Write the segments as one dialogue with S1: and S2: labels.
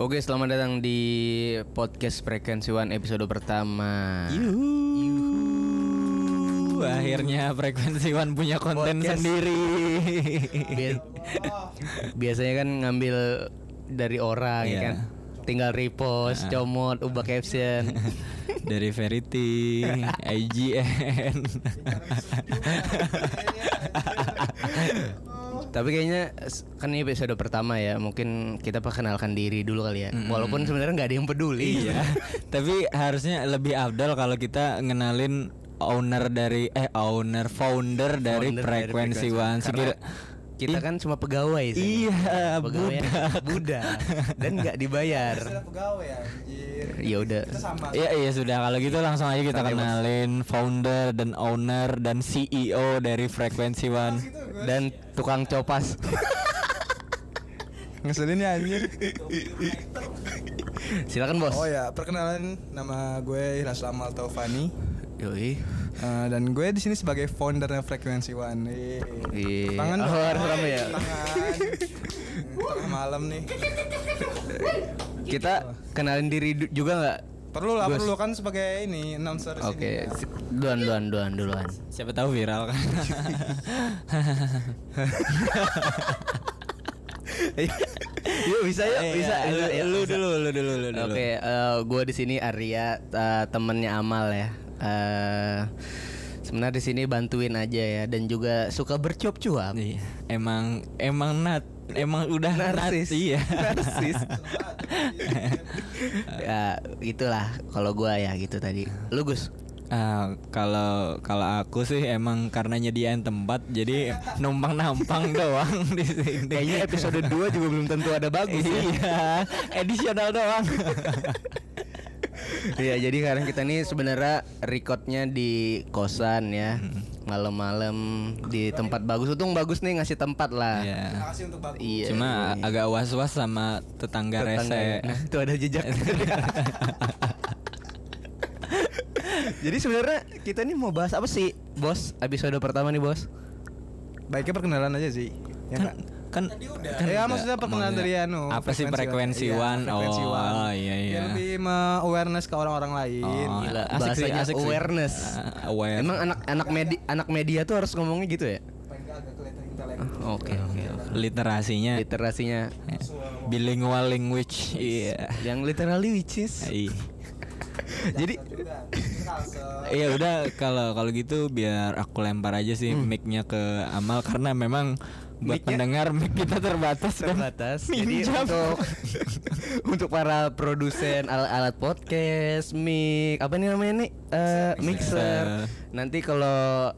S1: Oke, selamat datang di podcast Frequency One episode pertama.
S2: Yuhu. Akhirnya frekuensi One punya konten
S1: Podcast.
S2: sendiri.
S1: Bi- Biasanya kan ngambil dari orang ya
S2: Iya.
S1: kan. Tinggal repost, comot, ubah caption.
S2: Dari Verity, IGN.
S1: Tapi kayaknya s- kan ini episode pertama ya. Mungkin kita perkenalkan diri dulu kali ya. Walaupun sebenarnya nggak ada yang peduli.
S2: iya. Tapi harusnya lebih abdal kalau kita ngenalin owner dari eh owner founder dari
S1: Founder dari
S2: frekuensi
S1: Frequency
S2: One.
S1: One. Karena
S2: Sekira-
S1: Kita kan cuma pegawai sih.
S2: Iya,
S1: pegawai
S2: budak.
S1: Budak. dan nggak dibayar.
S3: Istilah pegawai anjir.
S1: Ya udah.
S3: Kita sama.
S2: Iya iya sudah kalau gitu langsung aja kita
S1: Sampai
S2: kenalin founder dan owner dan CEO dari frekuensi One.
S3: gitu.
S1: Dan tukang copas.
S3: Ngeselin ya anjir.
S1: Silakan bos.
S3: Oh
S2: iya.
S3: ya, perkenalan nama gue Hilal Slamal Taufani.
S1: Yoi.
S3: Eh, dan gue di sini sebagai foundernya Frekuensi One. Yeay.
S2: Iya.
S1: Yeay.
S3: Tangan
S1: Oh,
S3: dong.
S1: harus rame ya?
S3: Tangan. Tengah malam nih.
S1: Kita kenalin diri du- juga nggak?
S3: Perlu lah,
S1: Bos.
S3: perlu kan sebagai ini announcer di
S1: Oke, si-
S3: sini.
S1: duluan duluan duluan duluan.
S2: Siapa tahu viral kan.
S1: yuk bisa yuk,
S2: Eh,
S1: bisa. bisa,
S2: iya, lu-
S1: yuk,
S2: lu
S1: bisa.
S2: dulu lu dulu lu dulu.
S1: Oke, eh, gue di sini Arya, eh, temennya Amal ya. Eh, sebenarnya di sini bantuin aja ya dan juga suka bercuap-cuap.
S2: Iya. Emang emang nat emang udah nat,
S1: Narsis.
S2: iya.
S1: Narsis. ya itulah kalau gua ya gitu tadi. Lu Gus.
S2: Ah, kalau kalau aku sih emang karena nyediain tempat jadi numpang nampang doang di sini.
S1: Kayaknya episode 2 juga belum tentu ada bagus. ya.
S2: iya, edisional doang.
S1: Iya, jadi sekarang kita nih sebenarnya recordnya di kosan ya.
S2: Mm-hmm.
S1: Malam-malam di tempat bagus. Untung bagus nih ngasih tempat lah.
S2: Iya.
S3: Terima kasih untuk bagus.
S1: Ah. Iya.
S2: Cuma
S1: Iya.
S2: agak was-was sama tetangga,
S1: Tetangga.
S2: rese.
S1: Nah, itu ada jejak. jadi sebenarnya kita nih mau bahas apa sih, Bos? Episode pertama nih, Bos.
S3: Baiknya perkenalan aja sih. Ya
S2: kan
S3: Kak?
S2: kan kan
S3: ya
S2: udah
S3: maksudnya perkenalan
S2: omongnya.
S3: dari anu
S2: apa sih frekuensi
S3: Iya,
S2: one
S3: frekuensi
S2: oh,
S3: one.
S2: iya iya
S3: Biar lebih me- awareness ke orang-orang lain
S2: Oh,
S1: Gila,
S2: asik sih,
S1: bahasanya
S2: asik sih.
S1: awareness.
S2: Ah, aware.
S1: Emang anak anak media anak media tuh harus ngomongnya gitu ya? Oke, oke, oke.
S2: Iya. literasinya
S1: Literasinya
S2: bilingual language iya
S1: yang literally which is
S2: Ih.
S1: Jadi
S2: Iya udah kalau kalau gitu biar aku lempar aja sih mic-nya ke Amal karena memang buat
S1: Mic-nya-
S2: pendengar mic kita terbatas dan
S1: terbatas. Jadi
S2: minjam.
S1: untuk untuk para produsen alat-alat podcast, mic, apa nih namanya nih? Eh,
S2: Mixer.
S1: mixer. Nanti kalau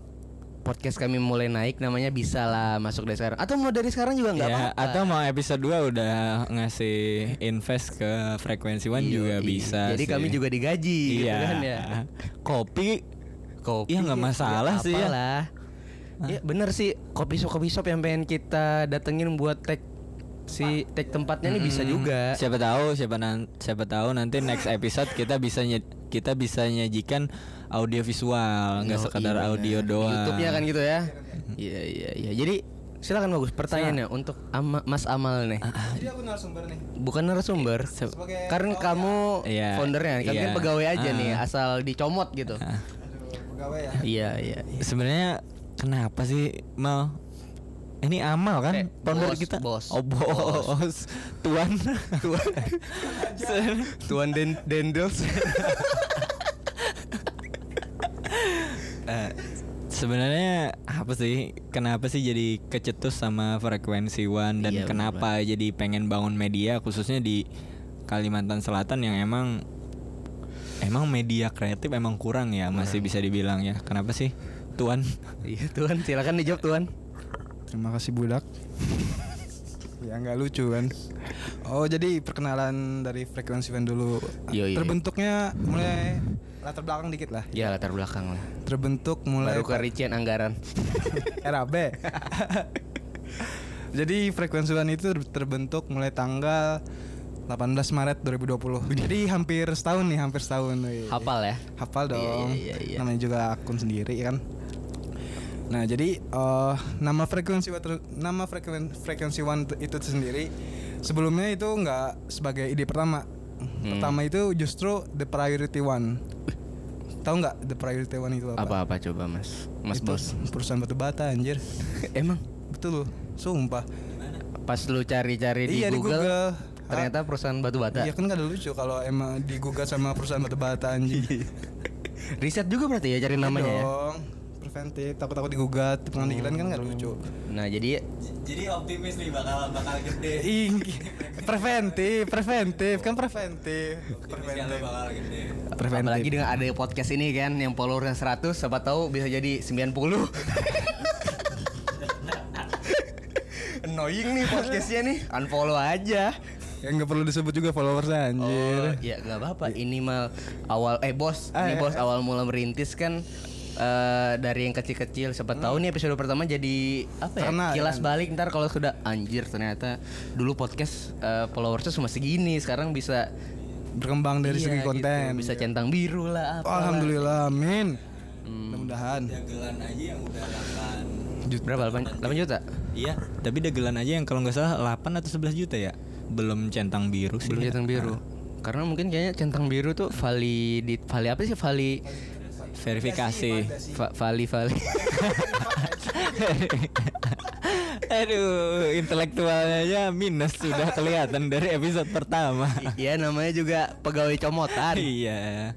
S1: podcast kami mulai naik namanya bisa lah masuk dari sekarang. Atau mau dari sekarang juga nggak
S2: Ya,
S1: apa-apa.
S2: atau mau episode 2 udah ngasih invest ke frekuensi one
S1: Iya,
S2: juga
S1: iya.
S2: bisa
S1: Jadi kami
S2: sih.
S1: juga digaji gitu
S2: iya
S1: kan ya.
S2: kopi
S1: Kopi
S2: Ya, nggak masalah sih ya. Ah.
S1: apalah. Ya bener sih kopi shop kopi shop yang pengen kita datengin buat tag si tag tempatnya nih bisa
S2: Mm,
S1: juga.
S2: Siapa tahu siapa nan siapa tahu nanti next episode kita bisa nye- kita bisa nyajikan audio visual, Oh, nggak
S1: Yo,
S2: sekedar
S1: iya,
S2: audio
S1: bener.
S2: doang.
S1: YouTube-nya kan gitu ya. Iya iya iya. Jadi silakan bagus pertanyaannya untuk Ama- Mas Amal nih.
S2: Ah,
S3: jadi aku narasumber nih
S1: Bukan narasumber.
S3: Sebagai
S1: Karena
S3: pegawai.
S1: kamu
S2: Iya,
S1: foundernya, kalian
S2: iya.
S1: kan pegawai aja
S2: Ah.
S1: nih, asal dicomot gitu.
S3: aduh pegawai ya
S1: Iya iya. iya.
S2: Nah, Sebenarnya kenapa sih Mal? Ini Amal kan
S1: Eh,
S2: founder
S1: bos,
S2: kita.
S1: bos.
S2: Oh, bos. Tuan. Tuan.
S1: Tuan Den Dendels.
S2: Sebenarnya apa sih? Kenapa sih jadi kecetus sama frekuensi One dan
S1: Iya, bener
S2: kenapa jadi pengen bangun media khususnya di Kalimantan Selatan yang emang emang media kreatif emang kurang ya masih bisa dibilang ya. Kenapa sih? Tuan.
S1: iya Tuan, silakan dijawab Tuan.
S3: terima kasih budak ya nggak lucu kan oh jadi perkenalan dari frekuensi One dulu
S1: Iya, iya.
S3: terbentuknya mulai latar belakang dikit lah
S1: Ya latar belakang lah.
S3: terbentuk mulai Iya,
S1: Baru kerician anggaran.
S3: RAB jadi frekuensi One itu terbentuk mulai tanggal 18 Maret 2020 Jadi hampir setahun nih, hampir setahun wih.
S1: Hafal ya.
S3: iya. hafal
S1: Iya,
S3: dong
S1: iya, iya, iya.
S3: namanya juga akun sendiri kan nah jadi eh, nama frekuensi Water- nama frekuen, frekuensi one itu sendiri Sebelumnya itu nggak sebagai ide pertama.
S1: Hmm.
S3: Pertama itu justru the priority one. Tahu nggak the priority one itu apa?
S1: Apa-apa coba mas, mas
S3: Itu
S1: bos.
S3: Perusahaan batu bata anjir.
S1: Emang
S3: Betul loh, sumpah.
S1: pas lu cari-cari di,
S3: Iya, di
S1: Google,
S3: Google. Ah,
S1: ternyata perusahaan batu bata.
S3: Iya kan kada lucu kalau emang digugat sama perusahaan batu bata
S1: Iya.
S3: anjir.
S1: Riset juga berarti ya cari namanya
S3: Iya
S1: ya.
S3: dong. Preventif, takut-takut digugat di pengadilan kan nggak lucu.
S1: Nah jadi
S2: Jadi optimis nih bakal bakal gede.
S3: Eh, Ih, preventif, preventif, kan preventif. Preventif.
S2: bakal gede.
S3: Preventif.
S1: apalagi dengan ada podcast ini kan yang followernya 100 siapa tahu bisa jadi 90 Annoying nih podcastnya nih Unfollow aja
S3: Ya nggak perlu disebut juga followersnya anjir. Iya.
S1: Oh, ya nggak apa-apa. Ini mah awal eh bos,
S3: Ah,
S1: ini
S3: iya,
S1: bos awal mula merintis kan eh, dari yang kecil-kecil. Siapa
S3: Hmm.
S1: tahu nih episode pertama jadi apa ya?
S3: Terkenal,
S1: kilas
S3: kan?
S1: balik ntar kalau sudah anjir ternyata dulu podcast eh, followersnya cuma segini, sekarang bisa
S3: Berkembang dari
S1: iya,
S3: segi
S1: gitu.
S3: konten.
S1: bisa centang biru lah.
S3: Oh,
S1: apalah.
S3: Alhamdulillah, amin.
S1: Hmm.
S3: Mudah-mudahan.
S2: Dagelan aja yang udah 8
S3: Jut-
S1: Berapa? 8, 8 juta?
S2: Iya, tapi dagelan aja yang kalau nggak salah 8 atau 11 juta ya. Belum centang biru sih.
S1: Belum
S2: ya.
S1: centang biru. Karena mungkin kayaknya centang biru tuh valid vali apa sih vali
S2: Verifikasi.
S1: va- vali vali
S2: Aduh, intelektualnya aja minus sudah kelihatan dari episode pertama.
S1: Iya namanya juga pegawai comotan.
S2: iya.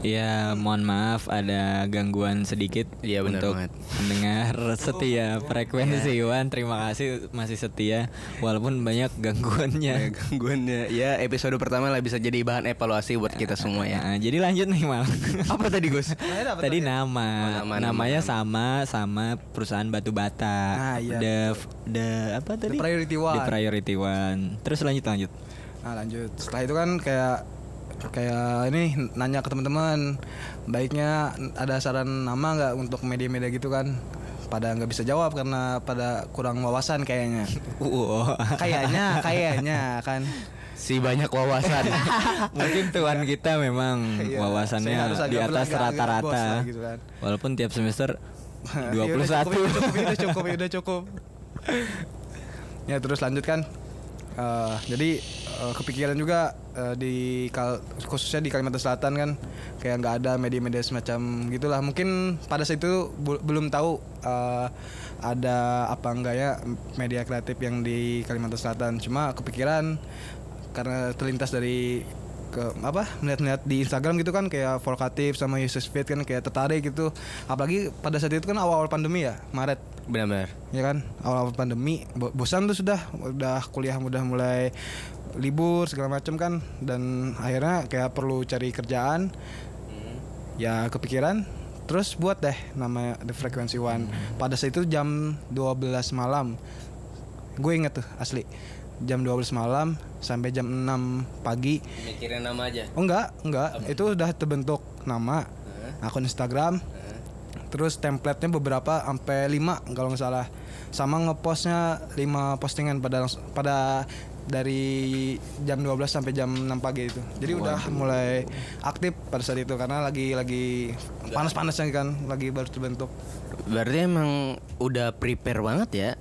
S2: Ya, mohon maaf ada gangguan sedikit
S1: Iya, benar
S2: untuk
S1: banget.
S2: mendengar setia frekuensi Iwan. Terima kasih masih setia walaupun banyak gangguannya.
S1: gangguannya ya episode pertama lah bisa jadi bahan evaluasi buat kita semua ya
S2: Nah, jadi lanjut nih mal.
S1: apa tadi Gus
S2: Tadi nama,
S1: Oh, nama,
S2: namanya sama sama perusahaan batu bata.
S3: Nah, iya,
S2: The the apa tadi?
S3: priority
S2: Ah,
S3: one.
S2: The priority one. Terus lanjut lanjut.
S3: Nah, lanjut. Setelah itu kan kayak kayak ini nanya ke teman-teman baiknya ada saran nama nggak untuk media-media gitu kan pada nggak bisa jawab karena pada kurang wawasan kayaknya
S2: Wow.
S3: kayaknya kayaknya kan
S1: si banyak wawasan
S2: Mungkin tuan kita memang
S3: Iya,
S2: wawasannya
S3: saya harus agak
S2: di atas
S3: belaga- agak bos lah
S2: rata-rata.
S3: gitu kan.
S2: Walaupun tiap semester
S3: Ya udah
S2: 21.
S3: cukup, ya udah cukup ya udah cukup ya terus lanjut kan Eh, jadi eh, kepikiran juga eh, di Kal- khususnya di Kalimantan Selatan kan kayak nggak ada media-media semacam gitulah mungkin pada saat itu bu- belum tahu eh, ada apa enggak ya media kreatif yang di Kalimantan Selatan cuma kepikiran karena terlintas dari ke apa melihat-lihat di Instagram gitu kan kayak Volkatif sama Yesus Fit kan kayak tertarik gitu apalagi pada saat itu kan awal-awal pandemi ya Maret
S1: benar-benar
S3: ya kan awal-awal pandemi bo- bosan tuh sudah udah kuliah udah mulai libur segala macam kan dan akhirnya kayak perlu cari kerjaan ya kepikiran terus buat deh nama The Frequency One pada saat itu jam 12 malam gue inget tuh asli jam 12 malam sampai jam 6 pagi
S1: mikirin nama aja
S3: Oh enggak, enggak. Itu udah terbentuk nama, akun Instagram. Terus templatenya beberapa sampai 5 kalau nggak salah. Sama ngepostnya 5 postingan pada langs- pada dari jam 12 sampai jam 6 pagi itu. Jadi udah mulai aktif pada saat itu karena lagi lagi panas-panasnya kan, lagi baru terbentuk.
S1: berarti emang udah prepare banget ya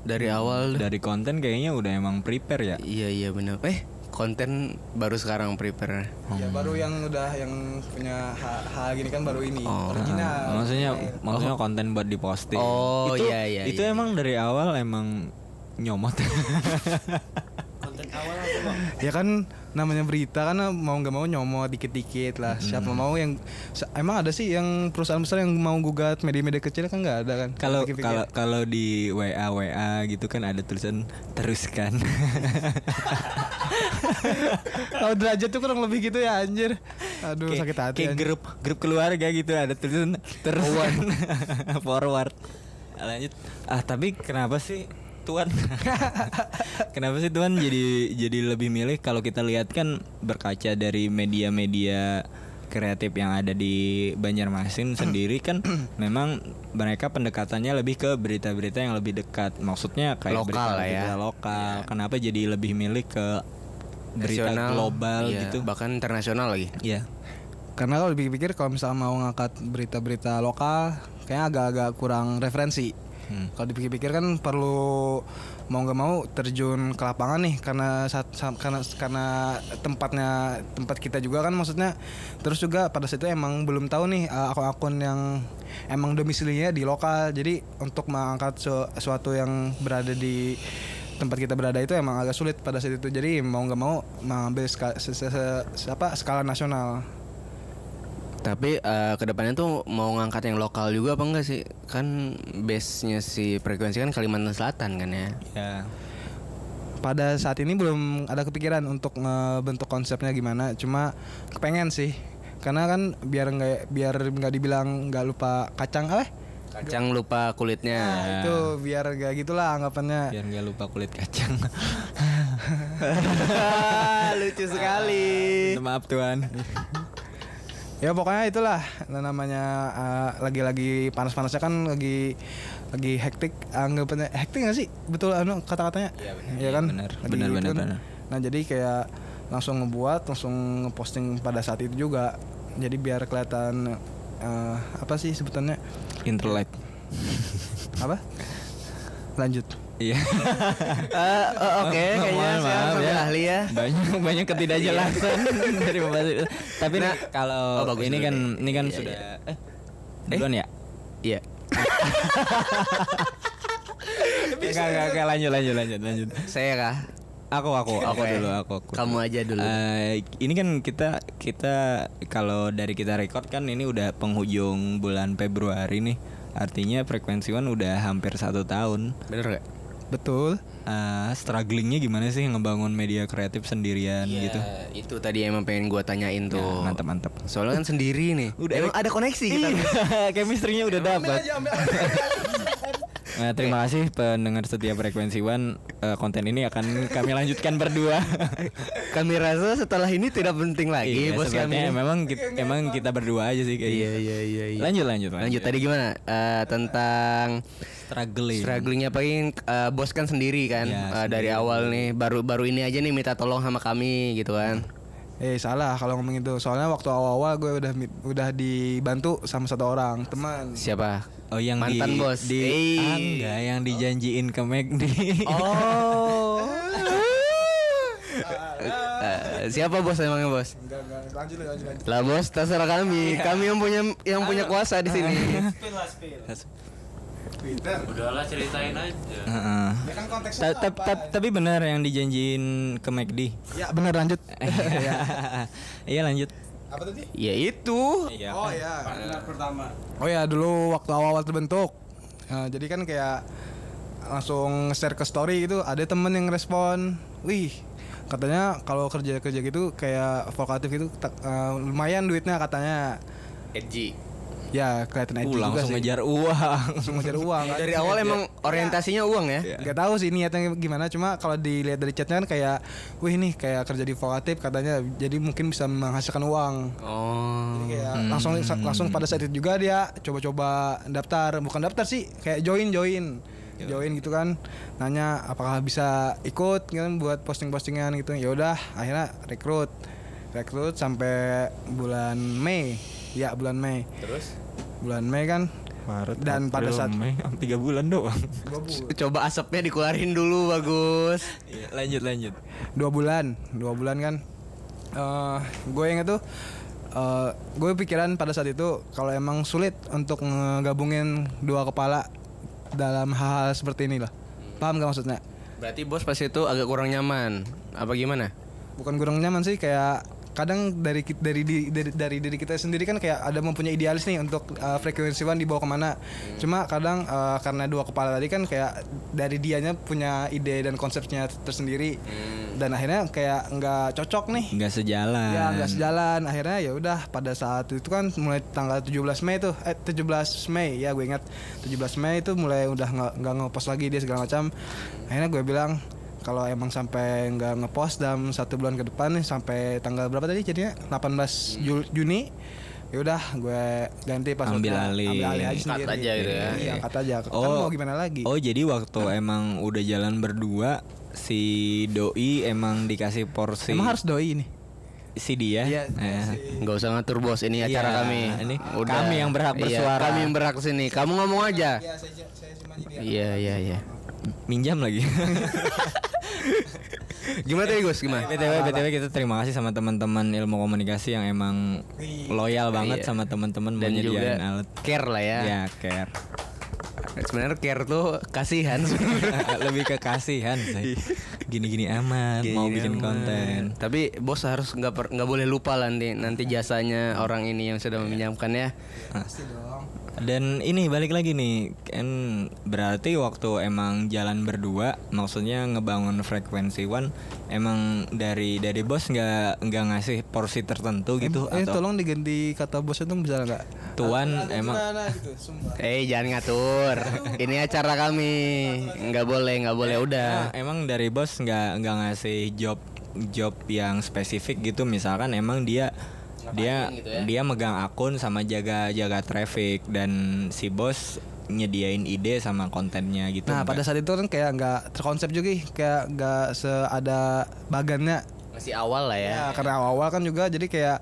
S1: dari awal
S2: Dari konten kayaknya udah emang prepare ya.
S1: iya iya benar eh konten baru sekarang prepare
S3: Ya baru yang udah yang punya hal gini kan baru ini.
S2: Nah,
S3: Original.
S2: maksudnya maksudnya konten buat diposting.
S1: Oh,
S2: itu,
S1: iya, iya,
S2: Itu
S1: iya.
S2: emang dari awal emang nyomot.
S3: ya kan namanya berita kan mau nggak mau nyomot dikit-dikit lah
S2: Hmm.
S3: siapa mau yang se- emang ada sih yang perusahaan besar yang mau gugat media-media kecil kan nggak ada kan
S2: Kalau
S3: Pikir-pikir.
S2: kalau kalau di WA WA gitu kan ada tulisan teruskan.
S3: kalau derajat tuh kurang lebih gitu ya anjir aduh
S2: Kayak-
S3: sakit hati
S2: Kayak
S3: anjir.
S2: grup grup keluarga gitu ada tulisan
S1: Oh,
S2: teruskan kan. forward. Lanjut. Ah, tapi kenapa sih Tuan? kenapa sih Tuan jadi jadi lebih milih kalau kita lihat kan berkaca dari media-media kreatif yang ada di Banjarmasin sendiri kan memang mereka pendekatannya lebih ke berita-berita yang lebih dekat. Maksudnya kayak
S1: Lokal lah ya.
S2: berita-berita lokal. Kenapa jadi lebih milih ke berita
S1: Nasional,
S2: global
S1: iya,
S2: gitu?
S1: bahkan internasional lagi
S2: Iya.
S3: karena kalau dipikir-pikir kalau misalnya mau ngangkat berita-berita lokal kayaknya agak-agak kurang referensi
S2: Hmm.
S3: kalau dipikir-pikir kan perlu mau nggak mau terjun ke lapangan nih karena saat- sa- karena karena tempatnya tempat kita juga kan maksudnya terus juga pada saat itu emang belum tahu nih uh, akun-akun yang emang domisilinya di lokal jadi untuk mengangkat su- suatu yang berada di tempat kita berada itu emang agak sulit pada saat itu jadi mau nggak mau mengambil ska- se- se- se- se- apa, skala nasional
S1: Tapi eh, kedepannya tuh mau ngangkat yang lokal juga apa enggak sih? Kan base-nya si frekuensi kan Kalimantan Selatan kan ya.
S2: ya
S3: pada saat ini belum ada kepikiran untuk ngebentuk konsepnya gimana cuma kepengen sih karena kan biar nggak biar nggak dibilang nggak lupa kacang eh
S1: Kacang lupa kulitnya.
S3: itu biar nggak gitulah anggapannya
S2: biar nggak lupa kulit kacang
S1: Lucu sekali.
S2: maaf tuan
S3: ya pokoknya itulah nah, namanya eh, lagi-lagi panas-panasnya kan lagi lagi hektik anggapannya hektik nggak sih betul anu kata-katanya
S2: Iya, benar.
S3: Iya kan
S2: Iya, benar.
S3: Lagi
S2: Benar,
S3: gitu
S2: benar,
S3: kan.
S2: benar.
S3: nah jadi kayak langsung ngebuat langsung ngeposting pada saat itu juga jadi biar kelihatan eh, apa sih sebutannya
S2: interlike
S3: apa lanjut
S2: iya
S1: Eh, oh, Oke,
S2: Ma- ma-
S1: kayaknya
S2: mohon
S1: sekarang
S2: maaf
S1: sampai
S2: ya.
S1: ahli ya.
S2: banyak banyak ketidakjelasan dari pembahas itu. tapi nih, kalau
S1: Iya. Oh, bagus
S2: ini
S1: dulu
S2: kan
S1: deh.
S2: ini kan
S1: Iya,
S2: sudah eh duluan ya
S1: Iya.
S2: Enggak, enggak, enggak, lanjut, lanjut, lanjut, lanjut.
S1: Saya kah?
S2: Aku, aku, aku
S1: Oke.
S2: dulu, aku, aku.
S1: eh. Kamu aja dulu.
S2: Eh, ini kan kita kita kalau dari kita record kan ini udah penghujung bulan Februari nih. Artinya frekuensi One udah hampir satu tahun.
S1: Bener gak?
S3: betul
S2: Eh, strugglingnya gimana sih ngebangun media kreatif sendirian gitu?
S1: Gitu. Itu tadi emang pengen gua tanyain tuh.
S2: Nah, mantap, mantap.
S1: Soalnya kan sendiri nih.
S2: Udah,
S1: emang ada koneksi kita. nih.
S2: Iya, chemistry-nya udah dapat. Nah, terima kasih pendengar setia frekuensi One. Eh, konten ini akan kami lanjutkan berdua.
S1: Kami rasa setelah ini tidak penting lagi,
S2: Iya,
S1: bos kami.
S2: sepertinya memang kita, emang kita berdua aja sih kayaknya.
S1: Iya, iya, iya, iya.
S2: Lanjut lanjut
S1: Lanjut tadi gimana Eh, tentang
S2: struggling.
S1: strugglingnya paling eh, bos kan sendiri kan
S2: Iya,
S1: Eh, dari awal nih baru baru ini aja nih minta tolong sama kami gitu kan.
S3: eh salah kalau ngomong itu soalnya waktu awal-awal gue udah mi- udah dibantu sama satu orang teman
S1: Siapa?
S2: Oh yang
S1: Mantan
S2: di,
S1: bos.
S2: di
S1: Hey.
S3: Iya.
S2: Ah, enggak yang dijanjiin ke McD.
S1: Oh. Eh, siapa bos emangnya bos?
S3: enggak enggak lanjut lanjut lanjut
S1: Lah bos terserah kami. Kami yang punya yang punya kuasa di sini.
S4: Udahlah ceritain aja.
S2: Heeh.
S3: ya kan konteksnya
S2: Ta- ta- ta- tapi benar yang dijanjiin ke McD.
S3: ya benar lanjut
S2: Iya lanjut.
S3: apa tadi
S1: ya itu.
S2: Iya.
S3: Oh ya. pertama. Oh ya dulu waktu awal-awal terbentuk. Eh, jadi kan kayak langsung share ke story gitu ada temen yang respon. Wih katanya kalau kerja kerja gitu kayak vokatif gitu ta- eh, lumayan duitnya katanya.
S1: Edgy.
S3: Ya kelihatan
S2: Uh,
S3: edgy juga
S2: langsung
S3: sih.
S2: ngejar uang.
S3: Langsung ngejar uang.
S1: Eh, Dari awal emang orientasinya uang ya.
S3: Gak tahu sih niatnya gimana cuma kalau dilihat dari chatnya kan kayak wih nih kayak kerja di vokatif katanya jadi mungkin bisa menghasilkan uang.
S1: Oh.
S3: Jadi kayak langsung langsung pada saat itu juga dia coba-coba daftar bukan daftar sih kayak join join join gitu kan nanya apakah bisa ikut kan buat posting-postingan gitu ya udah akhirnya rekrut rekrut sampai bulan Mei ya bulan Mei
S1: Terus?
S3: bulan Mei kan
S2: Maret.
S3: Dan
S2: April,
S3: pada saat-
S2: Mei, am- tiga bulan doang.
S3: dua, bu-
S1: Coba asapnya dikeluarin dulu bagus.
S2: Iya, lanjut lanjut.
S3: dua bulan dua bulan kan Eh, gue inget tuh eh, gue pikiran pada saat itu kalau emang sulit untuk ngegabungin dua kepala dalam hal-hal seperti ini lah paham gak maksudnya
S1: Berarti bos pas itu agak kurang nyaman. Apa gimana?
S3: bukan kurang nyaman sih kayak kadang dari ki- dari di- dari, dari diri kita sendiri kan kayak ada mempunyai idealis nih untuk uh, frekuensi one dibawa kemana cuma kadang uh, karena dua kepala tadi kan kayak dari dianya punya ide dan konsepnya tersendiri dan akhirnya kayak nggak cocok nih
S2: Enggak sejalan.
S3: Ya nggak sejalan akhirnya ya udah pada saat itu kan mulai tanggal 17 Mei tuh eh 17 Mei ya gue ingat 17 Mei itu mulai udah nggak nggak ngepost lagi dia segala macam akhirnya gue bilang kalau emang sampai nggak ngepost dalam satu bulan ke depan nih sampai tanggal berapa tadi jadinya
S2: Hmm.
S3: 18 Ju- Juni ya udah gue ganti passwordnya
S2: Ambil alih.
S3: ambil alih aja
S1: Cut
S3: sendiri
S1: aja gitu ya.
S3: iya cut aja kan mau gimana lagi
S2: Oh, jadi waktu emang udah jalan berdua si doi emang dikasih porsi
S3: emang harus doi ini
S2: si dia.
S3: Iya,
S2: Ya.
S1: Nggak usah ngatur bos, ini
S2: Iya,
S1: acara kami.
S2: ini kami yang berhak
S1: Iya,
S2: bersuara.
S1: kami yang berhak sini. Kamu ngomong aja. Iya iya iya.
S2: Minjam lagi.
S1: Gimana tadi Gus? Gimana?
S2: BTW BTW
S1: nah.
S2: kita terima kasih sama teman-teman ilmu komunikasi yang emang loyal banget
S1: Iya.
S2: sama teman-teman
S1: Dan juga
S2: menyediain alat.
S1: care lah ya.
S2: Ya, care.
S1: Sebenarnya care tuh kasihan. sebenarnya.
S2: Lebih ke kasihan sih. Gini-gini amat
S1: Iya.
S2: mau
S1: Gini
S2: bikin
S1: amat.
S2: konten.
S1: iya, Tapi bos harus nggak per- nggak boleh lupa lah nanti nanti jasanya orang ini yang sudah meminjamkan ya.
S2: Ah. Dan ini balik lagi nih, kan berarti waktu emang jalan berdua, maksudnya ngebangun frekuensi one, emang dari dari bos nggak nggak ngasih porsi tertentu gitu
S3: eh,
S2: atau
S3: tolong diganti kata bosnya tuh bisa nggak?
S2: tuan emang
S1: Eh jangan ngatur. ini acara kami. Nggak boleh nggak boleh
S3: Iya.
S1: udah.
S2: Nah, emang dari bos nggak nggak ngasih job job yang spesifik gitu, misalkan emang dia dia
S1: gitu ya.
S2: dia megang akun sama jaga jaga traffic dan si bos nyediain ide sama kontennya gitu.
S3: Nah
S2: nggak?
S3: pada saat itu kan kayak nggak terkonsep juga, ih. kayak nggak seada bagannya.
S1: Masih awal lah ya.
S3: Ya, karena awal-awal kan juga jadi kayak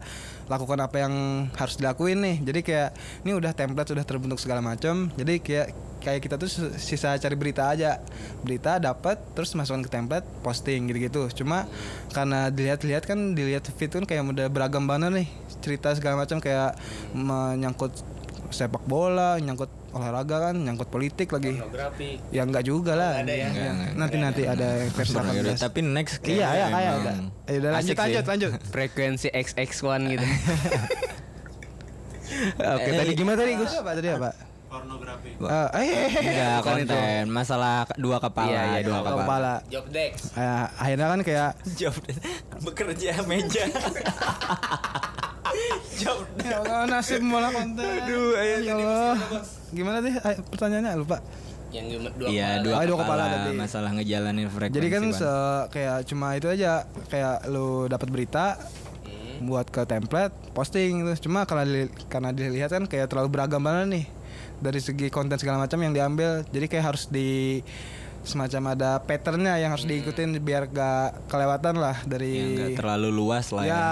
S3: lakukan apa yang harus dilakuin nih. Jadi kayak ini udah template sudah terbentuk segala macam. Jadi kayak kayak kita tuh sisa cari berita aja. Berita dapat terus masukkan ke template, posting gitu-gitu. Cuma karena dilihat-lihat kan dilihat feed kan kayak udah beragam banget nih cerita segala macam kayak menyangkut sepak bola, nyangkut olahraga kan, nyangkut politik lagi. Ya enggak juga lah. Iya. Nanti-nanti ya? ada yang versi
S2: Yaudah,
S3: 18.
S2: tapi next kayaknya
S3: Iya, ya, kayak
S2: emang
S3: udah. Ya udah lanjut,
S2: asik sih.
S3: lanjut, lanjut.
S1: Frekuensi XX1 gitu.
S3: Oke, tadi gimana Eh, tadi Gus? Apa tadi apa?
S4: pornografi
S3: Eh, eh, eh, eh.
S2: Enggak
S1: Bukan itu.
S2: konten, masalah k- dua kepala,
S1: Iya, iya,
S2: dua
S3: Kalau
S2: kepala.
S3: kepala.
S1: Jobdex.
S3: Eh, akhirnya kan kayak
S2: Job desk. bekerja meja. Job desk.
S3: ya Allah, nasib malah konten. Aduh, ya Allah. Gimana sih eh, pertanyaannya lupa.
S1: Yang gimana- dua
S2: Iya,
S1: kepala.
S2: dua,
S3: Oh, dua
S2: kepala,
S3: kepala tadi.
S2: masalah ngejalanin frekuensi.
S3: Jadi kan
S2: Bang.
S3: se- kayak cuma itu aja kayak lu dapat berita
S2: Hmm.
S3: buat ke template posting terus cuma karena dili- karena dilihat kan kayak terlalu beragam banget nih dari segi konten segala macam yang diambil jadi kayak harus di semacam ada patternnya yang harus diikutin biar gak kelewatan lah
S2: Ya,
S3: dari
S2: Hmm. nggak terlalu luas lah
S3: ya,
S2: ya.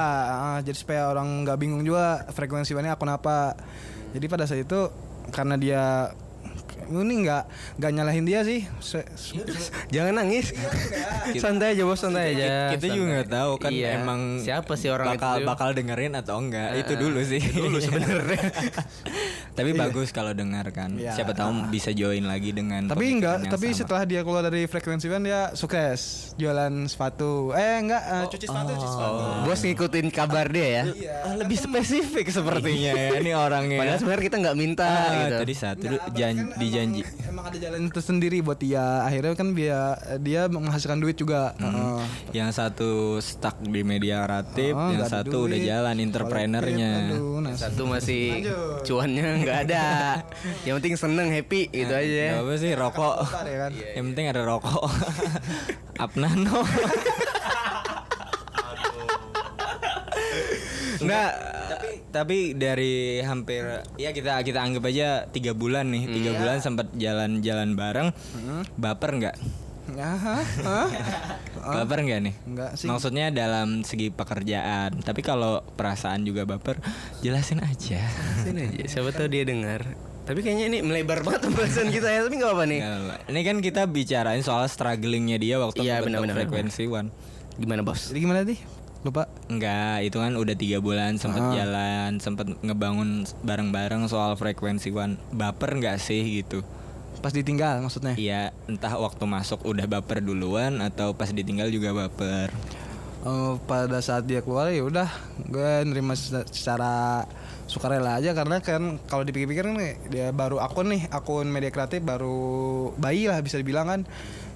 S3: ah, jadi supaya orang nggak bingung juga frekuensi mana akun apa. Jadi pada saat itu karena dia ini nggak nggak nyalahin dia sih. Se-
S2: Iya,
S3: se-
S1: Jangan nangis. santai aja bos, Iya, santai aja.
S2: Ki- kita juga nggak tahu kan
S1: Iya.
S2: emang
S1: Siapa sih orang
S2: bakal
S1: itu? ya?
S2: bakal dengerin atau enggak itu dulu sih dulu sebenarnya tapi bagus kalau dengarkan
S3: Iya.
S2: siapa tahu bisa join lagi dengan
S3: tapi
S2: pemikiran
S3: nggak
S2: yang
S3: tapi
S2: sama.
S3: setelah dia keluar dari frekuensi kan dia sukses jualan sepatu. Eh nggak eh,
S2: Oh.
S3: cuci iya. sepatu, cuci sepatu.
S1: Bos ngikutin kabar dia ya.
S2: Ah, lebih spesifik sepertinya ya ini orangnya
S1: Padahal sebenarnya kita nggak minta
S2: Ah,
S1: gitu.
S2: tadi satu
S3: Nggak,
S2: du-
S3: abang
S2: jan-
S3: kan emang-
S2: dijanji
S3: Emang ada jalan tersendiri buat dia. Akhirnya kan dia dia menghasilkan duit juga.
S2: Hmm.
S3: Eh, Heeh.
S2: yang satu stuck di media ratif
S3: Heeh,
S2: yang
S3: Oh, nggak ada
S2: satu udah
S3: duit.
S2: jalan entreprenernya
S3: Aduh, nah,
S1: Satu masih
S3: Lanjut.
S1: cuannya nggak ada. Yang penting seneng happy gitu
S2: Nggak
S1: aja.
S2: apa sih rokok
S3: Bentar ya kan.
S2: yang penting ada rokok apnano Nggak, tapi tapi dari hampir ya kita kita anggap aja tiga bulan nih tiga bulan sempat jalan-jalan bareng baper nggak
S3: Ya, hah? Hah?
S2: baper nggak nih
S3: Nggak sih.
S2: Maksudnya dalam segi pekerjaan, tapi kalau perasaan juga baper, jelasin aja.
S1: Sini aja. Siapa tahu dia dengar. Tapi kayaknya ini melebar banget pembahasan kita ya. Tapi nggak apa-apa nih.
S2: Nggak apa-apa. Ini kan kita bicarain soal strugglingnya dia waktu
S1: Iya,
S2: membentuk
S1: benar-benar.
S2: frekuensi one.
S1: Gimana bos?
S3: Jadi gimana sih? Lupa.
S2: Enggak, itu kan udah tiga bulan sempet jalan, sempet ngebangun bareng-bareng soal frekuensi one. Baper nggak sih gitu?
S3: Pas ditinggal maksudnya.
S2: Iya, entah waktu masuk udah baper duluan atau pas ditinggal juga baper.
S3: Eh, pada saat dia keluar ya udah gue nerima se- secara sukarela aja karena kan kalau dipikir-pikir kan dia baru akun nih akun media kreatif baru bayi lah bisa dibilang kan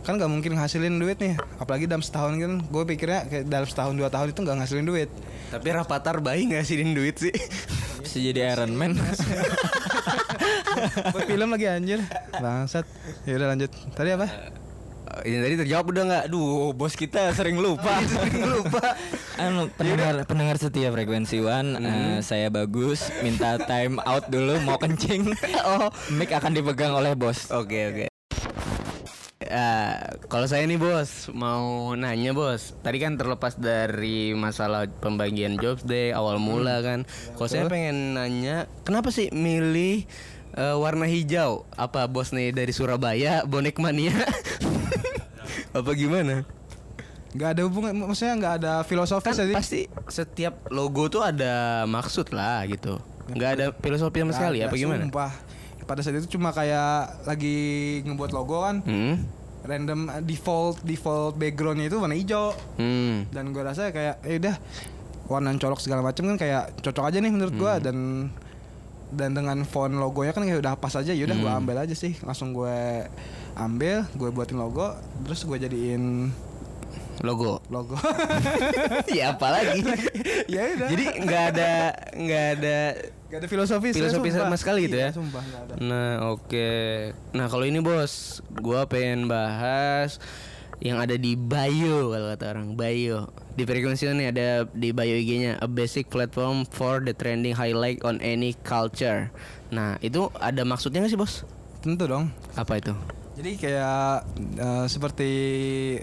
S3: kan nggak mungkin ngasilin duit nih apalagi dalam setahun kan gue pikirnya kayak dalam setahun dua tahun itu nggak ngasilin duit
S1: Tapi Rapatar bayi ngasihin duit sih.
S2: Bisa jadi Iron Man.
S3: Buat film lagi anjir bangsat ya udah lanjut tadi apa
S1: Ini tadi terjawab udah nggak?
S2: Aduh, bos kita sering lupa. lupa. Anu, pendengar pendengar setia frekuensi One, eh, saya bagus. Minta time out dulu, mau kencing. oh, mic akan dipegang oleh bos.
S1: Oke oke. Eh, kalau saya nih bos mau nanya bos, tadi kan terlepas dari masalah pembagian jobs day awal
S3: Hmm.
S1: mula kan, kalau saya pengen nanya kenapa sih milih eh, warna hijau? Apa bos nih dari Surabaya bonek mania? Apa gimana?
S3: Nggak ada hubungan, mak- maksudnya nggak ada
S1: Kan
S3: filosofis aja.
S1: pasti setiap logo tuh ada maksud lah gitu. Nggak ada filosofi sama
S3: Nggak
S1: sekali. ya,
S3: ada,
S1: Apa gimana?
S3: sumpah. Pada saat itu cuma kayak lagi ngebuat logo kan,
S1: Hmm.
S3: random eh, default default backgroundnya itu warna hijau.
S1: Hmm.
S3: Dan gue rasa kayak, eh udah warna colok segala macam kan kayak cocok aja nih menurut
S1: Hmm.
S3: gua dan dan dengan font logonya kan kayak udah pas aja yaudah gua
S1: Hmm.
S3: ambil aja sih langsung gue ambil gue buatin logo terus gue jadiin
S1: Logo.
S3: logo
S1: ya apalagi.
S3: ya udah
S1: Jadi nggak ada nggak ada
S3: Gak ada filosofis
S1: Filosofi sama sekali gitu ya?
S3: Sumpah gak ada.
S1: Nah, oke. Nah, kalau ini bos, gua pengen bahas yang ada di bio kalau kata orang bio di frekuensi ini ada di bio IG-nya a basic platform for the trending highlight on any culture. Nah itu ada maksudnya nggak sih bos?
S3: Tentu dong.
S1: Apa itu?
S3: Jadi kayak eh, seperti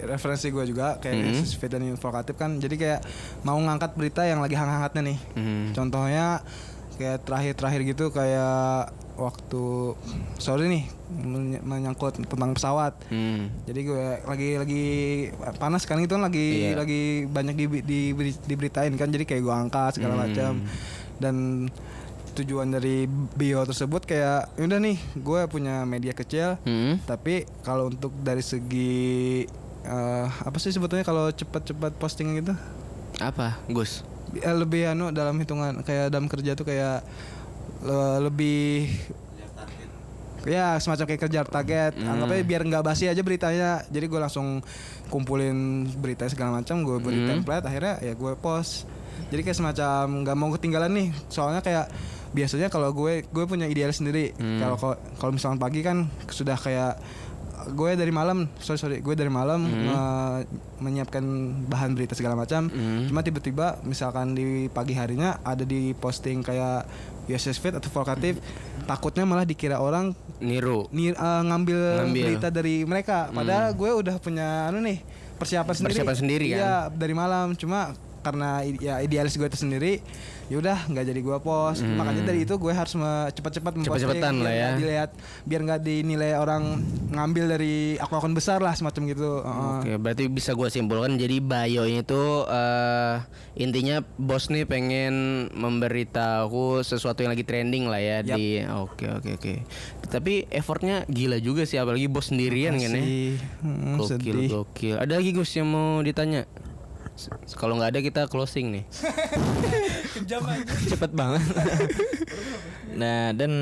S3: referensi gue juga kayak
S1: Mhm.
S3: sensitif dan informatif kan. Jadi kayak mau ngangkat berita yang lagi hangat-hangatnya nih.
S1: Hmm.
S3: Contohnya kayak terakhir-terakhir gitu kayak waktu sorry nih menye- menyangkut tentang pesawat.
S1: Hmm.
S3: Jadi gue lagi lagi panas kan itu kan lagi
S1: Iya.
S3: lagi banyak di, di, diberitain kan jadi kayak gue angkat segala macam dan tujuan dari bio tersebut kayak udah nih gue punya media kecil
S1: Hmm.
S3: tapi kalau untuk dari segi eh, apa sih sebetulnya kalau cepat-cepat posting gitu
S1: Apa, Gus?
S3: eh, lebih anu dalam hitungan kayak dalam kerja tuh kayak le- lebih ya semacam kayak kejar target
S1: Hmm.
S3: anggapnya biar nggak basi aja beritanya jadi gue langsung kumpulin berita segala macam gue beri
S1: Hmm.
S3: template akhirnya ya gue post jadi kayak semacam nggak mau ketinggalan nih soalnya kayak biasanya kalau gue gue punya ideal sendiri
S1: Hmm.
S3: kalau kalau- kalau misalnya pagi kan sudah kayak gue dari malam sorry sorry gue dari malam eh, menyiapkan bahan berita segala macam
S1: Hmm.
S3: Cuma tiba-tiba misalkan di pagi harinya ada di posting kayak USS Fit atau Volkatif
S1: Mm-hmm.
S3: takutnya malah dikira orang
S1: Niru.
S3: ni- eh, ngambil,
S1: Ngambil. Mm-hmm.
S3: berita dari mereka. Padahal gue udah punya anu nih persiapan sendiri.
S1: Persiapan sendiri, kan?
S3: Iya, dari malam cuma karena i- ya idealis gue itu sendiri yaudah nggak jadi gue post makanya dari itu gue harus me- cepat-cepat memposting
S1: Cepet-cepetan Mm-hmm.
S3: biar
S1: lah ya.
S3: nggak dilihat biar nggak dinilai orang ngambil dari akun-akun besar lah semacam gitu Heeh.
S1: Oke, berarti bisa gua simpulkan jadi bio-nya itu eh, intinya bos nih pengen memberitahu sesuatu yang lagi trending lah ya
S3: Yap.
S1: di oke oke oke. Tapi effortnya gila juga sih apalagi bos sendirian kan ya.
S3: Masih, heeh,
S1: Gokil
S3: Hmm, sedih.
S1: gokil. Ada lagi Gus yang mau ditanya? Se- Kalau nggak ada kita closing nih.
S2: cepet banget nah dan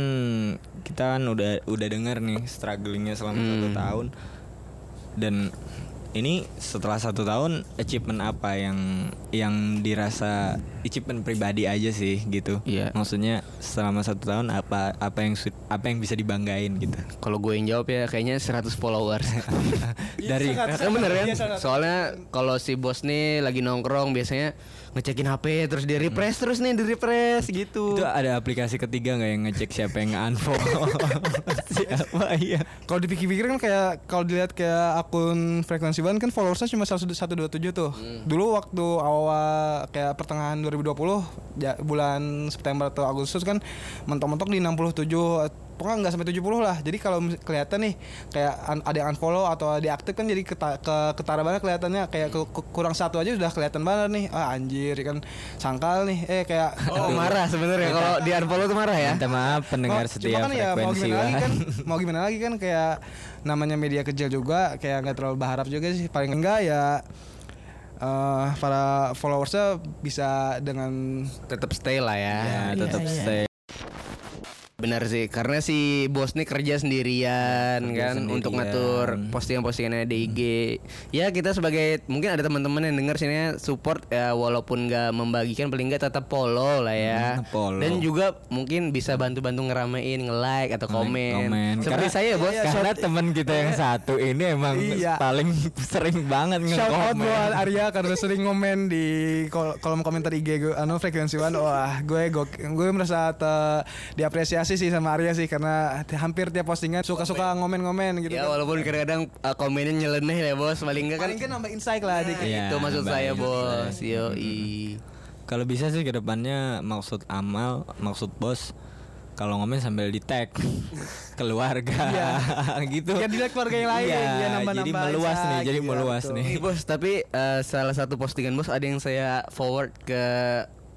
S2: kita kan udah udah dengar nih strugglingnya selama satu
S3: Hmm.
S2: tahun dan ini setelah satu tahun achievement apa yang yang dirasa achievement pribadi aja sih gitu
S1: Iya.
S2: maksudnya selama satu tahun apa apa yang su- apa yang bisa dibanggain gitu
S1: Kalau gue yang jawab ya kayaknya 100 followers.
S2: dari
S3: Iya,
S1: Kan bener kan? Soalnya kalau si bos nih lagi nongkrong biasanya ngecekin HP terus dia refresh terus nih di refresh gitu.
S2: itu ada aplikasi ketiga nggak yang ngecek siapa yang unfollow siapa iya
S3: Kalau dipikir-pikir kan kayak kalau dilihat kayak akun frekuensi ban kan followersnya cuma 127 tuh. Dulu waktu awal kayak pertengahan 2020 ja- ya, bulan September atau Agustus kan mentok-mentok di 67 eh, pokoknya nggak sampai 70 lah. Jadi kalau mis- kelihatan nih kayak un- ada yang unfollow atau diaktif kan jadi keta- ke- ketara banget kelihatannya kayak ke- ke- kurang satu aja udah kelihatan banget nih. Ah anjir kan sangkal nih. Eh kayak
S1: Oh marah sebenarnya kalau di unfollow tuh marah ya.
S2: minta maaf pendengar
S3: Oh,
S2: setia
S3: Eh, cuma kan ya mau
S2: frekuensi
S3: gimana lagi
S2: Wan.
S3: kan mau gimana lagi kan kayak namanya media kecil juga kayak nggak terlalu berharap juga sih paling enggak ya eh para followersnya bisa dengan
S1: Tetap stay lah ya.
S2: ya tetap stay
S1: Benar sih, karena si bos nih kerja sendirian
S2: Kerja
S1: kan
S2: sendirian.
S1: untuk ngatur postingan-postingannya di IG. Ya kita sebagai mungkin ada teman-teman yang denger sini ya, support ya walaupun nggak membagikan paling nggak tetap follow lah ya.
S2: Hmm, follow.
S1: Dan juga mungkin bisa bantu-bantu ngeramein, nge-like atau komen. iya, Seperti
S2: Karena,
S1: saya bos.
S2: karena teman kita yang satu ini emang
S3: Iya.
S2: paling sering banget
S3: shout out buat
S2: ngekomen.
S3: Arya karena sering ngomen di kol- kolom komentar IG gue anu frekuensi one wah gue gok- gue merasa te- diapresiasi kasih sih sama Arya sih karena hampir tiap postingan suka-suka ngomen-ngomen gitu.
S1: ya
S3: kan.
S1: walaupun kadang-kadang uh, komennya nyeleneh ya bos paling enggak kan
S3: Paling kan nambah insight lah dikit.
S1: itu
S2: Iya,
S1: maksud
S2: baik.
S1: saya bos yoi
S2: Kalau bisa sih kedepannya maksud amal, maksud bos kalau ngomel sambil di tag keluarga
S1: Iya.
S2: gitu.
S3: Biar di-tag keluarga yang lain,
S2: Iya,
S3: biar nambah-nambah
S2: jadi meluas
S3: aja.
S2: nih, jadi
S1: gitu.
S3: Iya,
S2: meluas
S3: betul.
S2: nih.
S1: Nih bos, tapi eh, salah satu postingan bos ada yang saya forward ke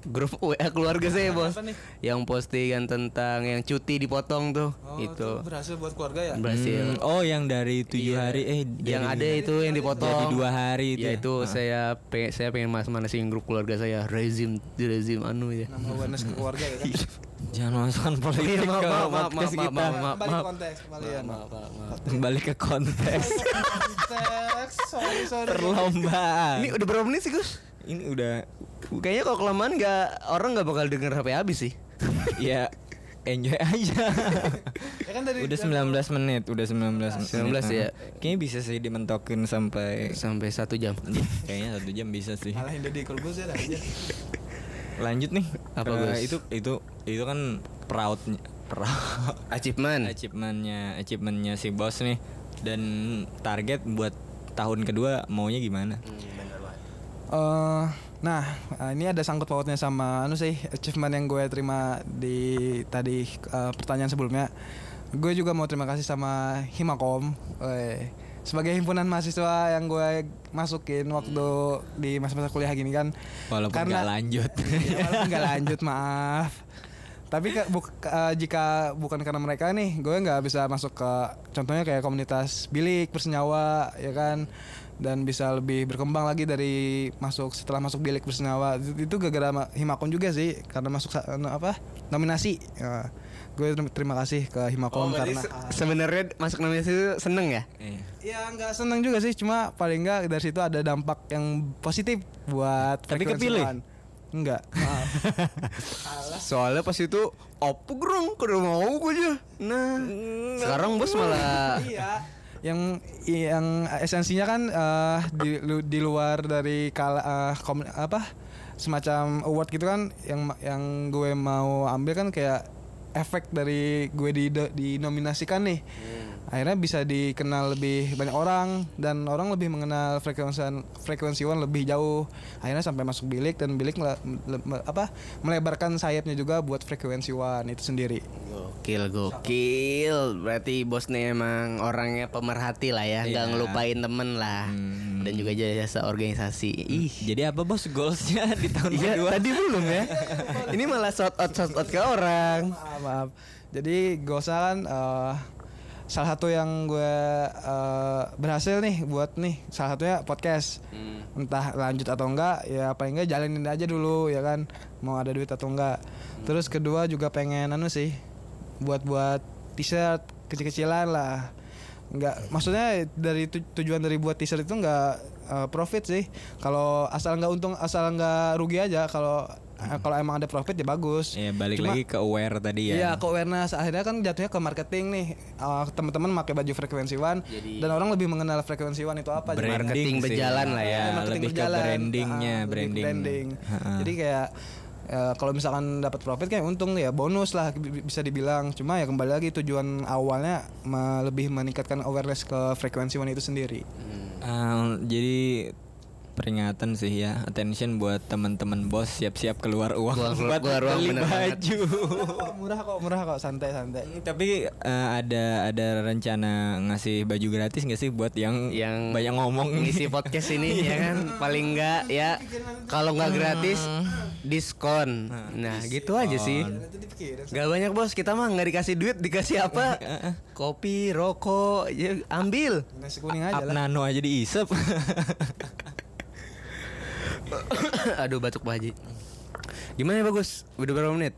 S1: grup WA keluarga saya bos.
S3: Apa nih?
S1: Yang postingan tentang yang cuti dipotong tuh,
S3: Oh, tuh
S1: itu
S3: berhasil buat keluarga ya.
S1: berhasil.
S2: Hmm, oh yang dari tujuh
S1: Iya.
S2: hari eh
S1: yang ada
S2: dari-
S1: itu yang dipotong
S2: Jadi dua hari itu
S1: ya
S2: ya?
S1: itu saya pengen saya pengen mas manasin grup keluarga saya rezim rezim anu ya
S3: Nambah awareness ke keluarga ya kan.
S2: jangan masukkan politik
S1: Iya, maaf,
S2: ke
S1: maaf, maaf,
S2: podcast
S1: maaf,
S2: kita.
S1: maaf, maaf.
S3: Kembali ke konteks kembalian.
S2: Kembali ke konteks
S3: Konteks. Sorry sorry.
S2: perlombaan.
S1: ini udah berapa menit sih Gus?
S2: Ini udah
S1: Kayaknya kalau kelamaan nggak orang nggak bakal denger HP habis sih.
S2: ya enjoy aja.
S3: Ya kan tadi
S2: udah 19 menit, udah 19 menit.
S1: 19 ya.
S2: Kayaknya bisa sih dimentokin sampai
S1: Sampai satu jam.
S2: kayaknya satu jam bisa sih.
S3: Malahin Deddy Corbuzier ya, aja.
S2: Lanjut nih.
S1: Apa,
S2: Eh,
S1: Gus?
S2: itu itu itu kan proudnya proud
S1: Achievement.
S2: achievementnya achievementnya si bos nih dan target buat tahun kedua maunya gimana?
S3: Eh, nah, ini ada sangkut pautnya sama anu sih achievement yang gue terima di tadi eh, pertanyaan sebelumnya. Gue juga mau terima kasih sama Himakom eh, sebagai himpunan mahasiswa yang gue masukin waktu di masa-masa kuliah gini kan.
S2: Walaupun
S3: Karena-
S2: nggak lanjut.
S3: Ya, walaupun nggak lanjut maaf. Tapi ke- buk- eh, jika bukan karena mereka nih, gue nggak bisa masuk ke contohnya kayak komunitas bilik bersenyawa ya kan dan bisa lebih berkembang lagi dari masuk setelah masuk bilik bersenyawa itu, itu gara-gara ma- Himakom juga sih karena masuk sa- anu apa nominasi. Ya, gue ter- terima kasih
S1: Oh,
S3: ke Himakom karena Ah.
S1: sebenarnya masuk namanya itu seneng ya?
S2: Iya.
S3: ya nggak seneng juga sih cuma paling nggak dari situ ada dampak yang positif buat
S2: Tapi
S3: perekonomian.
S2: kepilih? Ah.
S3: Enggak. Maaf.
S1: Soalnya pas itu opo gerung kudu mau gue aja. Nah, sekarang bos malah
S3: iya yang yang esensinya kan eh, di lu- di luar dari kala eh, kom- apa semacam award gitu kan yang ma- yang gue mau ambil kan kayak efek dari gue di dinominasikan nih akhirnya bisa dikenal lebih banyak orang dan orang lebih mengenal frekuensi frekuensiwan lebih jauh akhirnya sampai masuk bilik dan bilik mele- mele- apa melebarkan sayapnya juga buat frekuensiwan itu sendiri
S1: gokil gokil. Berarti bosnya emang orangnya pemerhati lah ya, nggak
S2: Iya.
S1: ngelupain temen lah.
S2: Hmm.
S1: Dan juga jasa organisasi. Ih.
S2: Jadi apa bos goalsnya di tahun
S1: Iya,
S2: kedua?
S1: tadi belum ya. Ini malah shout out shout out ke orang.
S3: maaf maaf jadi Gosa kan eh, salah satu yang gue eh, berhasil nih buat nih salah satunya podcast entah lanjut atau enggak ya paling enggak jalanin aja dulu ya kan mau ada duit atau enggak terus kedua juga pengen anu sih buat buat t-shirt kecil-kecilan lah nggak maksudnya dari tu- tujuan dari buat t-shirt itu nggak eh, profit sih kalau asal nggak untung asal nggak rugi aja kalau eh, kalau emang ada profit ya bagus
S2: Ya balik
S3: Cuma-
S2: lagi ke aware tadi ya.
S3: Iya, ke awareness akhirnya kan jatuhnya ke marketing nih. Eh, teman-teman pakai baju frekuensi one
S1: Jadi-
S3: dan orang lebih mengenal frekuensi one itu apa. Jadi-
S1: Marketing
S2: sih.
S1: berjalan lah ya.
S2: Iya,
S3: Marketing
S2: lebih ke
S3: berjalan.
S2: brandingnya,
S3: Ah, lebih ke
S2: branding.
S3: branding.
S2: Ha-ha.
S3: Jadi kayak eh, kalau misalkan dapat profit kayak untung ya bonus lah bi- bisa dibilang. Cuma ya kembali lagi tujuan awalnya me- lebih meningkatkan awareness ke frekuensi one itu sendiri.
S2: Eh, jadi peringatan sih ya, attention buat teman-teman bos siap-siap keluar uang
S1: Keluar-
S2: buat
S1: keluar uang,
S2: beli
S1: bener banget.
S2: baju.
S3: Murah kok, murah kok, murah kok, santai santai.
S2: Hmm, Tapi eh, ada ada rencana ngasih baju gratis nggak sih buat yang
S1: Yang
S2: banyak ngomong
S1: ngisi podcast ini ya kan paling enggak ya kalau nggak gratis diskon. Hmm. Nah, gitu aja sih.
S3: Nanti dipikirin.
S1: Gak banyak bos, kita mah nggak dikasih duit, dikasih apa? Kopi, rokok, ya, ambil.
S3: Nasi kuning aja
S2: Up
S3: lah.
S2: nano aja diisep.
S1: Aduh batuk Pak Haji. Gimana ya bagus? Udah berapa menit?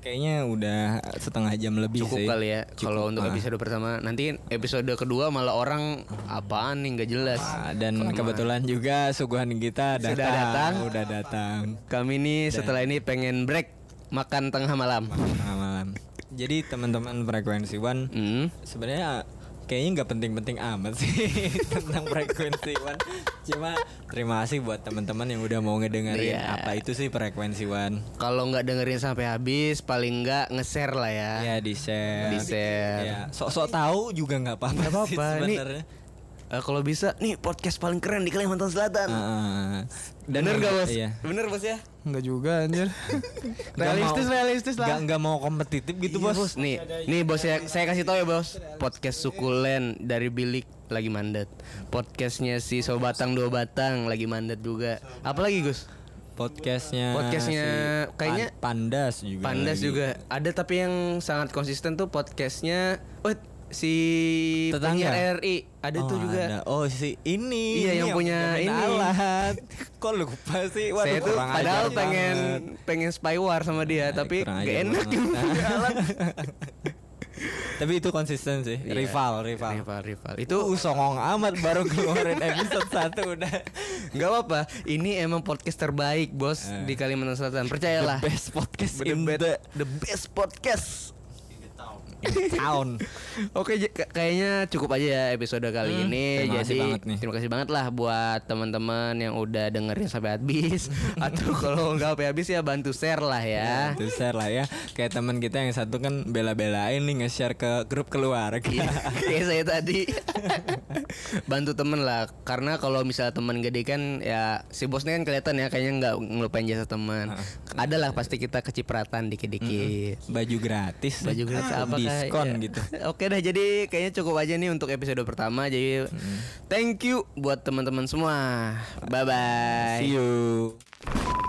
S2: Kayaknya udah setengah jam lebih
S1: Cukup
S2: sih.
S1: kali ya.
S2: Cukup,
S1: Kalau untuk
S2: ah.
S1: episode pertama, nanti episode kedua malah orang apaan nih nggak jelas.
S2: Ah, dan kebetulan juga suguhan kita datang,
S1: Sudah datang.
S2: udah datang
S1: Kami nih setelah ini pengen break makan tengah malam.
S2: tengah malam. Jadi teman-teman frekuensi One
S1: Hmm.
S2: sebenarnya kayaknya nggak penting-penting amat sih tentang frekuensi one. Cuma terima kasih buat teman-teman yang udah mau ngedengerin
S1: Iya.
S2: apa itu sih frekuensi one.
S1: Kalau nggak dengerin sampai habis, paling nggak nge-share lah ya.
S2: Ya di share.
S1: Di-share.
S2: Ya, sok-sok tahu juga nggak apa-apa.
S1: Nggak
S2: sih
S1: apa-apa, ini-
S2: sebenarnya.
S1: Eh, kalau bisa, nih podcast paling keren di Kalimantan Selatan.
S2: Heeh. Dan
S1: Bener gak bos?
S2: Ah, Iya.
S1: Bener bos ya?
S3: Enggak juga anjir. realistis
S2: Nggak mau-
S3: realistis lah.
S2: Nggak nggak mau kompetitif gitu
S1: Iya,
S2: bos.
S1: Nih, nih bos saya, saya kasih tahu ya bos. Podcast sukulen dari bilik lagi mandat. Podcastnya si Sobatang Dua Batang lagi mandat juga. Apalagi Gus?
S2: Podcastnya.
S1: Podcastnya
S2: Pan-
S1: kayaknya-
S2: Pandas juga.
S1: Pandas
S2: lagi.
S1: juga. Ada tapi yang sangat konsisten tuh podcastnya. Oh, si
S2: Tetangga?
S1: penyiar RI ada
S2: Oh,
S1: tuh juga.
S2: ada. Oh si ini.
S1: Iya, yang punya ini.
S2: alat. Kok lupa sih? Waduh,
S1: saya tuh
S2: kurang
S1: padahal
S2: ajar
S1: pengen
S2: banget. Iya, Nah,
S1: pengen spyware sama dia tapi
S2: kurang
S1: gak
S2: ajar
S1: enak
S2: banget. Tapi itu konsisten sih.
S1: Iya.
S2: Rival, rival.
S1: rival rival
S2: Itu
S1: itu
S2: songong amat baru keluarin episode 1 udah.
S1: nggak apa-apa ini emang podcast terbaik bos
S2: Eh.
S1: di Kalimantan Selatan percayalah
S2: The best podcast
S1: The
S2: in
S1: best-
S2: the
S1: the best podcast
S2: town.
S1: Oke, j- k- kayaknya cukup aja ya episode kali ini.
S2: Hmm, Terima kasih
S1: Jadi
S2: banget nih.
S1: terima kasih banget lah buat teman-teman yang udah dengerin sampai habis. Atau kalau nggak sampai habis ya bantu share lah ya.
S2: Itu share lah ya. Kayak teman kita yang satu kan bela-belain nih nge-share ke
S1: Iya,
S2: grup keluarga.
S1: Kayak saya tadi Bantu temen lah Karena kalau misalnya temen gede kan Ya si bosnya kan kelihatan ya Kayaknya nggak ngelupain jasa teman Ada lah pasti kita kecipratan dikit-dikit
S2: Baju gratis. Nah,
S1: Baju gratis iya? apa
S2: diskon
S1: kayak-
S2: gitu.
S1: Oke dah jadi kayaknya cukup aja nih untuk episode pertama Jadi
S2: Hmm.
S1: thank you buat teman-teman semua Bye bye
S2: See you.